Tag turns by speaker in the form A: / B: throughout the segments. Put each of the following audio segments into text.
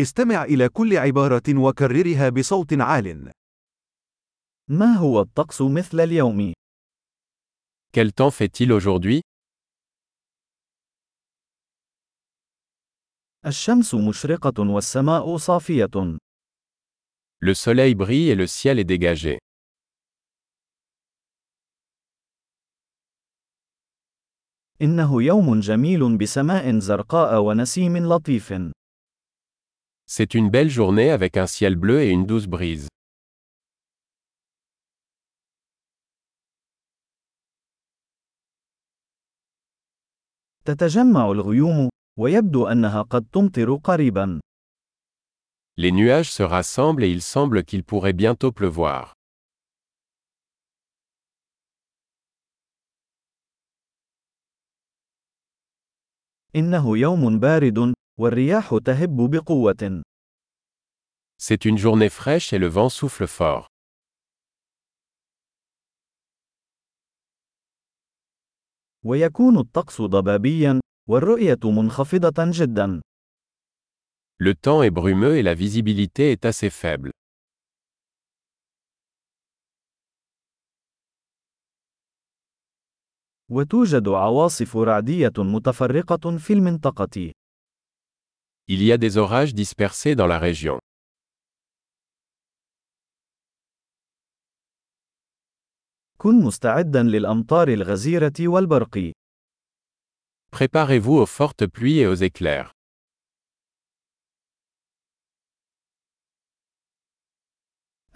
A: استمع إلى كل عبارة وكررها بصوت عال.
B: ما هو الطقس مثل اليوم؟
C: Quel temps fait-il aujourd'hui
B: الشمس مشرقة والسماء صافية.
C: Le soleil brille et le ciel est dégagé.
B: إنه يوم جميل بسماء زرقاء ونسيم لطيف.
C: C'est une belle journée avec un ciel bleu et une douce brise.
B: تتجمع الغيوم، ويبدو أنها قد تمطر قريبا.
C: Les nuages se rassemblent et il semble qu'il pourrait bientôt pleuvoir.
B: إنه يوم بارد، والرياح تهب بقوة.
C: C'est une journée fraîche et le vent souffle fort.
B: ويكون الطقس ضبابيا، والرؤية منخفضة جدا.
C: Le temps est brumeux et la visibilité est assez faible.
B: وتوجد عواصف رعدية متفرقة في المنطقة.
C: Il y a des orages dispersés dans la région.
B: كن مستعدا للأمطار الغزيرة والبرق.
C: Préparez-vous aux fortes pluies et aux éclairs.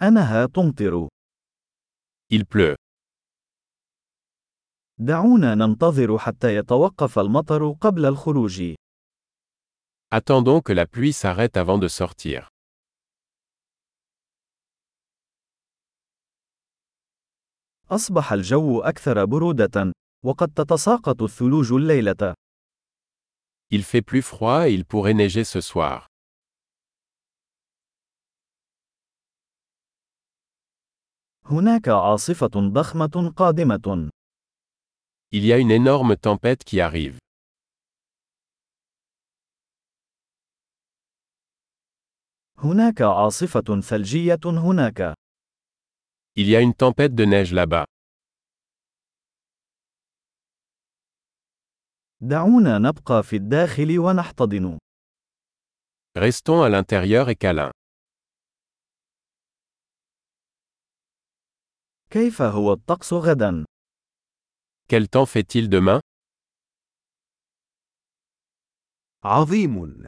B: أنها تمطر.
C: Il pleut.
B: دعونا ننتظر حتى يتوقف المطر قبل الخروج.
C: Attendons que la pluie s'arrête avant de sortir.
B: أصبح الجو أكثر برودة، وقد تتساقط الثلوج الليلة.
C: Il fait plus froid et il pourrait neiger ce soir.
B: هناك عاصفة ضخمة قادمة.
C: Il y a une énorme tempête qui arrive.
B: هناك عاصفة ثلجية هناك.
C: Il y a une tempête de neige là-bas.
B: دعونا نبقى في الداخل ونحتضن.
C: Restons à l'intérieur et câlin.
B: كيف هو الطقس غدا؟
C: Quel temps fait-il demain
A: عظيم.